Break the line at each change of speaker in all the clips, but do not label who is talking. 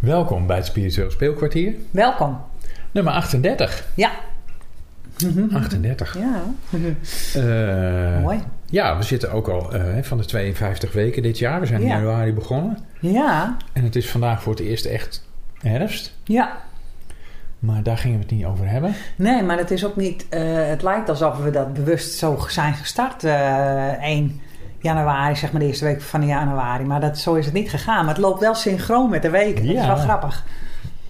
Welkom bij het Spiritueel Speelkwartier,
Welkom.
nummer 38.
Ja.
38.
Ja.
Eh,
Mhm. Mooi.
Ja, we zitten ook al eh, van de 52 weken dit jaar. We zijn in
Ja.
januari begonnen.
Ja.
En het is vandaag voor het eerst echt herfst.
Ja.
Maar daar gingen we het niet over hebben.
Nee, maar het is ook niet... eh, het lijkt alsof we dat bewust zo zijn gestart. eh 1 januari, zeg maar de eerste week van januari. Maar dat, zo is het niet gegaan. Maar het loopt wel synchroon met de weken. Dat
Ja.
is wel grappig.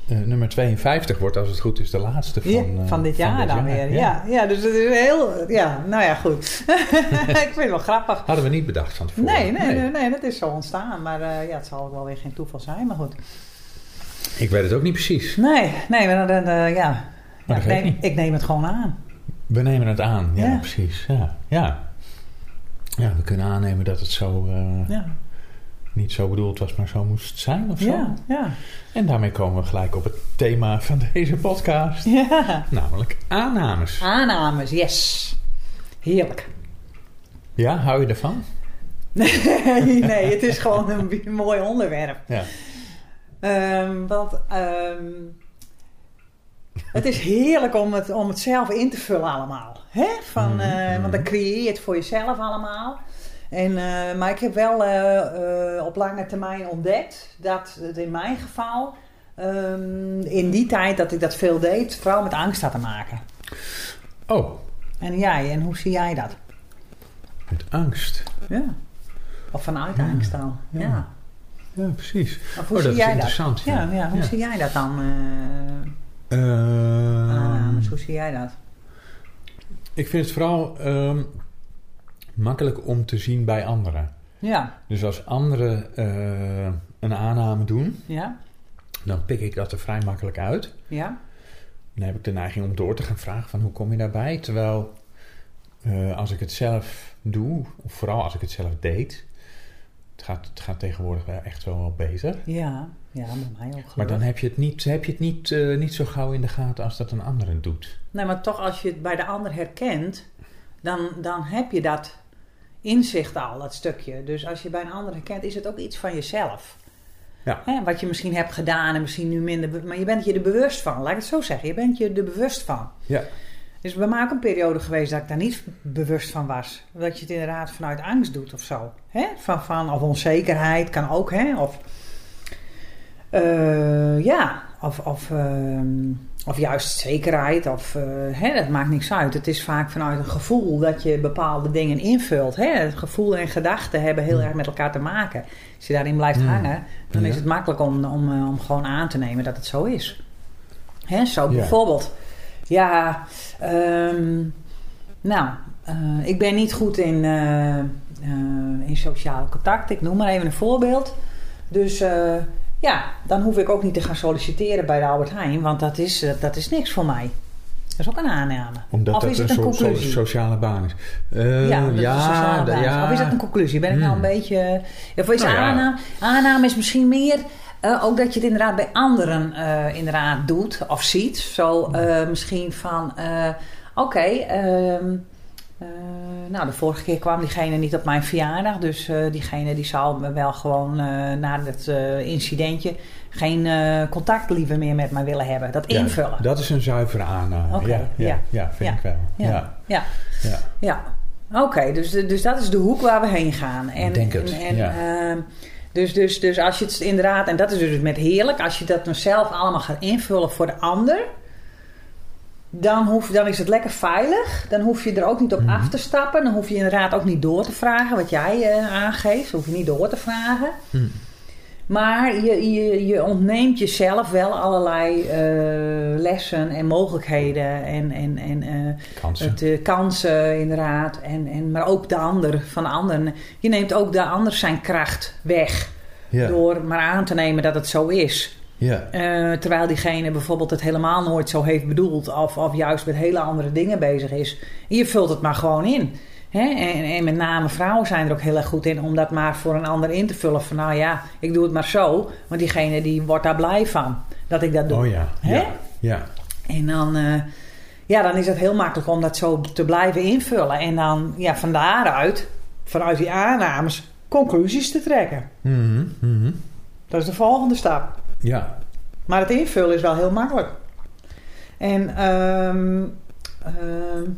Eh, nummer 52 wordt, als het goed is, de laatste van,
Ja,
eh,
van dit jaar dan weer. Ja. Ja. dus het is heel... Ja, nou ja, goed. Ik vind het wel grappig.
Hadden we niet bedacht van tevoren.
Nee, nee, nee. nee, dat is zo ontstaan. Maar eh, ja, het zal ook wel weer geen toeval zijn. Maar goed.
Ik weet het ook niet precies.
Nee, nee, maar dan, eh, ja. Ja,
dat
ik,
geeft
neem,
niet.
ik neem het gewoon aan.
We nemen het aan. Ja,
Ja.
precies. Ja. ja. Ja, we kunnen aannemen dat het zo eh,
Ja,
niet zo bedoeld was, maar zo moest zijn of zo.
ja, ja.
En daarmee komen we gelijk op het thema van deze podcast.
ja.
Namelijk aannames.
Aannames, yes. Heerlijk.
Ja, hou je ervan?
Nee, nee, het is gewoon een bi- mooi onderwerp.
Ja.
Ehm, want ehm, het is heerlijk om het, om het zelf in te vullen allemaal. Hè? Van,
Mhm,
eh,
mhm.
Want dan creëer je het voor jezelf allemaal. En, eh, maar ik heb wel eh, eh, op lange termijn ontdekt dat het in mijn geval... ehm, in die tijd dat ik dat veel deed, vooral met angst had te maken.
Oh,
En jij, en hoe zie jij dat?
met angst.
Ja. Of vanuit
Ja.
angst dan. Ja.
Ja. Ja, precies.
Of hoe
oh, dat
zie
is
jij
interessant.
dat? Ja, ja, hoe zie jij dat dan? eh
Ehm,
aannames? Hoe zie jij dat?
ik vind het vooral ehm, makkelijk om te zien bij anderen.
Ja,
Dus als anderen eh, een aanname doen,
ja,
dan pik ik dat er vrij makkelijk uit.
ja,
Dan heb ik de neiging om door te gaan vragen van hoe kom je daarbij? Terwijl eh, als ik het zelf doe, of vooral als ik het zelf deed, het gaat, het gaat tegenwoordig wel echt wel wel beter.
ja. Ja, bij mij ook gelukkig.
Maar dan heb je het, niet, heb je het niet, eh, niet zo gauw in de gaten als dat een ander het doet.
Nee, maar toch als je het bij de ander herkent, dan, dan heb je dat inzicht al, dat stukje. Dus als je bij een ander herkent, is het ook iets van jezelf.
Ja.
Hè, wat je misschien hebt gedaan en misschien nu minder... be- Maar je bent je er bewust van, laat ik het zo zeggen. Je bent je er bewust van.
Ja.
Dus bij mij ook een periode geweest dat ik daar niet bewust van was. Dat je het inderdaad vanuit angst doet of zo. Hè? Van, van, of onzekerheid kan ook, hè? Of, eh, ja, of, of, ehm, of juist zekerheid. Of, eh, hè? Dat maakt niks uit. Het is vaak vanuit een gevoel dat je bepaalde dingen invult. Hè? Het gevoel en gedachten hebben heel erg met elkaar te maken. Als je daarin blijft
Hmm.
hangen, dan
Ja.
is het makkelijk om, om, eh, om gewoon aan te nemen dat het zo is. Hè? Zo
Ja.
bijvoorbeeld. Ja, ehm, nou, eh, ik ben niet goed in, eh, eh, in sociale contact. Ik noem maar even een voorbeeld. Dus eh, ja, dan hoef ik ook niet te gaan solliciteren bij de Albert Heijn, want dat is, eh, dat is niks voor mij. Dat is ook een aanname.
Omdat
of
dat
is
een,
het een
soort so-
conclusie?
sociale baan is. Eh,
ja, dat is een sociale
da-
basis.
ja.
Of is dat een conclusie? Ben ik nou
Hmm.
een beetje... Of is
Nou ja.
aanname, aanname is misschien meer... eh, ook dat je het inderdaad bij anderen eh, inderdaad doet of ziet. Zo eh, misschien van... eh, Oké, ehm, eh, nou de vorige keer kwam diegene niet op mijn verjaardag. Dus eh, diegene die zal me wel gewoon eh, na dat eh, incidentje... geen eh, contact liever meer met mij willen hebben. Dat
Ja,
invullen. Ja,
dat is een zuivere aanname.
Oké,
ja, ja, ja.
ja.
vind
Ja.
ik wel. Ja.
Ja.
Ja.
Ja, oké. dus, dus dat is de hoek waar we heen gaan. En,
Ik denk het,
En, en,
ja.
ehm, dus, dus, dus als je het inderdaad, en dat is dus met heerlijk, als je dat dan zelf allemaal gaat invullen voor de ander, dan, hoef, dan is het lekker veilig. Dan hoef je er ook niet op
Mhm.
af te stappen. Dan hoef je inderdaad ook niet door te vragen wat jij eh, aangeeft. hoef je niet door te vragen.
Hm.
Maar je, je, je ontneemt jezelf wel allerlei eh, lessen en mogelijkheden en, en, en eh,
Kansen.
het, eh, kansen inderdaad, en, en, maar ook de ander van de ander. Je neemt ook de ander zijn kracht weg
ja.
door maar aan te nemen dat het zo is.
ja.
Eh, terwijl diegene bijvoorbeeld het helemaal nooit zo heeft bedoeld of, of juist met hele andere dingen bezig is. En je vult het maar gewoon in. Hè? En, en met name vrouwen zijn er ook heel erg goed in om dat maar voor een ander in te vullen. Van nou ja, ik doe het maar zo, want diegene die wordt daar blij van dat ik dat doe.
Oh ja.
Hè?
Ja. ja.
En dan, eh, ja, dan is het heel makkelijk om dat zo te blijven invullen. En dan ja, van daaruit, vanuit die aannames, conclusies te trekken.
Mhm, mhm.
Dat is de volgende stap.
Ja,
Maar het invullen is wel heel makkelijk. En ehm, ehm,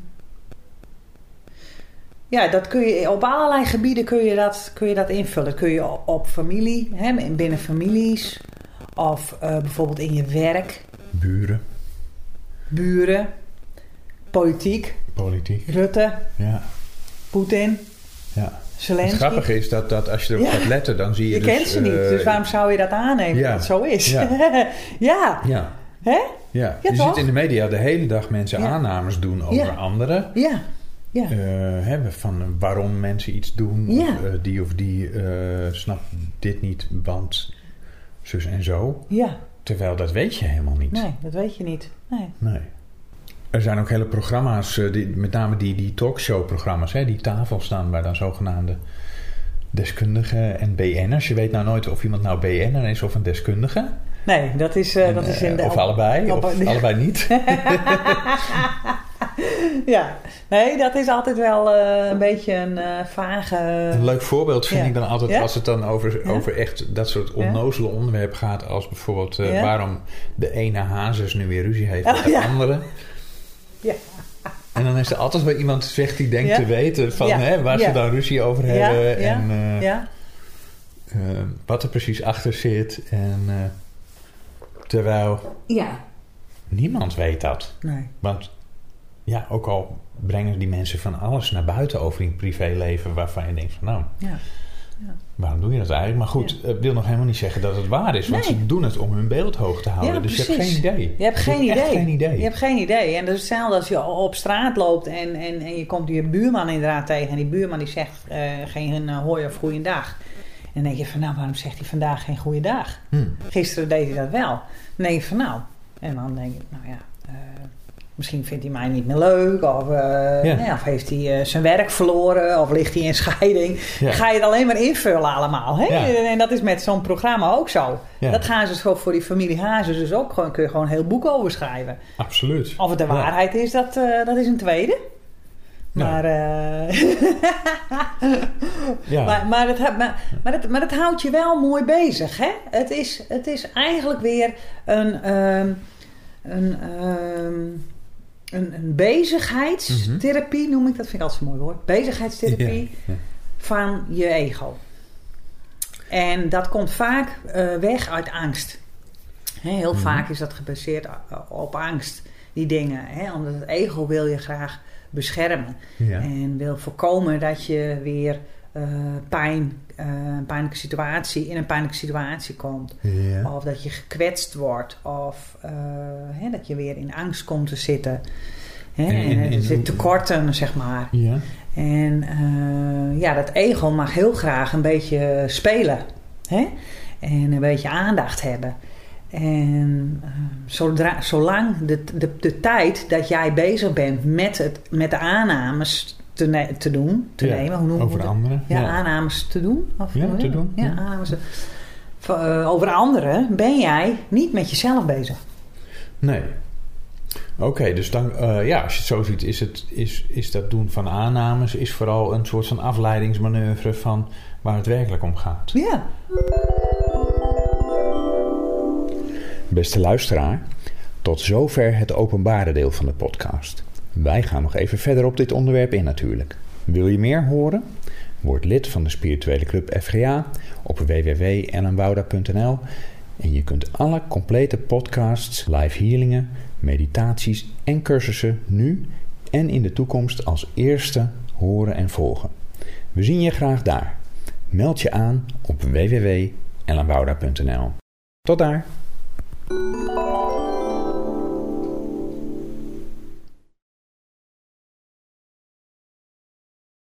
ja, dat kun je, op allerlei gebieden kun je dat, kun je dat invullen. Dat kun je op- op familie, hè, binnen families. Of eh, bijvoorbeeld in je werk,
Buren,
buren, politiek,
politiek.
Rutte,
Ja,
Poetin,
ja. Het
Zelensky.
grappige is dat, dat als je erop
Ja.
gaat letten, dan zie je,
Je
dus,
kent ze niet,
eh,
dus waarom zou je dat aannemen
Ja.
dat het zo is?
Ja.
ja,
Ja.
Hè?
Ja,
Ja,
je
toch?
ziet in de media de hele dag mensen
Ja.
aannames doen over
Ja.
anderen.
ja, ja.
Eh, hè, van waarom mensen iets doen.
Ja.
Of, eh, die of die eh, snapt dit niet, want zus en zo.
ja.
Terwijl dat weet je helemaal niet.
Nee, dat weet je niet. Nee.
Nee. Er zijn ook hele programma's, eh, die, met name die, die talkshow-programma's, hè, die tafel staan bij dan zogenaamde deskundigen en BN'ers. Je weet nou nooit of iemand nou BN'er is of een deskundige.
Nee, dat is, eh,
En,
dat is
eh,
in de...
of allebei,
op-
of allebei niet.
Ja, nee, dat is altijd wel eh, een beetje een eh, vage...
Een leuk voorbeeld vind
Ja.
ik dan altijd
Ja?
als het dan over,
Ja?
over echt dat soort onnozele onderwerpen gaat. Als bijvoorbeeld eh,
Ja?
waarom de ene hazes nu weer ruzie heeft met
Oh,
de
ja.
andere.
Ja.
En dan is er altijd wel iemand die zegt die denkt
Ja?
te weten van
Ja.
hè, waar
Ja.
ze dan ruzie over
Ja,
hebben.
ja,
En eh,
ja,
eh, wat er precies achter zit. En, eh, terwijl
Ja.
niemand weet dat.
nee.
Want ja, ook al brengen die mensen van alles naar buiten over hun privéleven waarvan je denkt van nou...
Ja.
Waarom doe je dat eigenlijk? Maar goed, het wil nog helemaal niet zeggen dat het waar is. Want
Nee.
ze doen het om hun beeld hoog te houden.
Ja,
dus je hebt
precies.
geen idee.
Je hebt geen
hebt echt
idee.
geen idee.
Je hebt geen idee. En dat is hetzelfde als je op straat loopt en, en, en je komt je buurman inderdaad tegen. En die buurman die zegt eh, geen eh, hoi of goeiedag. En dan denk je van nou, waarom zegt hij vandaag geen goeiedag?
Hm.
Gisteren deed hij dat wel. Dan denk je van nou. En dan denk ik, nou ja, eh, misschien vindt hij mij niet meer leuk. Of, eh, nou ja, of heeft hij eh, zijn werk verloren. Of ligt hij in scheiding.
Ja.
Ga je het alleen maar invullen allemaal. Hè?
Ja.
En dat is met zo'n programma ook zo.
Ja.
Dat gaan ze zo voor die familie Hazes dus ook gewoon. Kun je gewoon een heel boek over schrijven.
Absoluut.
Of het de
Ja.
waarheid is, dat, eh, dat is een tweede.
Nou,
Maar, eh,
ja.
maar, maar, het, ha- maar, maar, het, maar het houdt je wel mooi bezig. Hè? Het, is, het is eigenlijk weer een, ehm, een, ehm, een, een bezigheidstherapie, noem ik dat. Vind ik altijd een mooi woord. Bezigheidstherapie.
Ja.
van je ego. En dat komt vaak eh, weg uit angst. Hè, heel vaak is dat gebaseerd a- op angst, die dingen. Hè? Omdat het ego wil je graag beschermen.
Ja.
En wil voorkomen dat je weer eh, pijn, eh, een pijnlijke situatie, in een pijnlijke situatie komt.
Ja.
Of dat je gekwetst wordt. Of eh, hè, dat je weer in angst komt te zitten. Hè?
En-
En,
en- en
er
hoe-
zit tekorten, zeg maar.
Ja.
En eh, ja, dat ego mag heel graag een beetje spelen. Hè? En een beetje aandacht hebben. En eh, zodra, zolang de, de, de tijd dat jij bezig bent met, het, met de aannames te, ne- te doen, te
Ja,
nemen, hoe noem je
Over
dat?
anderen.
Ja, aannames te doen. Of
Ja,
hoe heet
te
dat?
doen,
Ja,
ja.
aannames. te- Van, eh, over anderen ben jij niet met jezelf bezig.
Nee. Oké, dus dan, eh, ja, als je het zo ziet, is, het, is, is dat doen van aannames is vooral een soort van afleidingsmanoeuvre van waar het werkelijk om gaat.
Ja,
Beste luisteraar, tot zover het openbare deel van de podcast. Wij gaan nog even verder op dit onderwerp in natuurlijk. Wil je meer horen? Word lid van de spirituele club FGA op www.ellenwouda.nl en je kunt alle complete podcasts, live healingen, meditaties en cursussen nu en in de toekomst als eerste horen en volgen. We zien je graag daar. Meld je aan op www.ellenwouda.nl. Tot daar!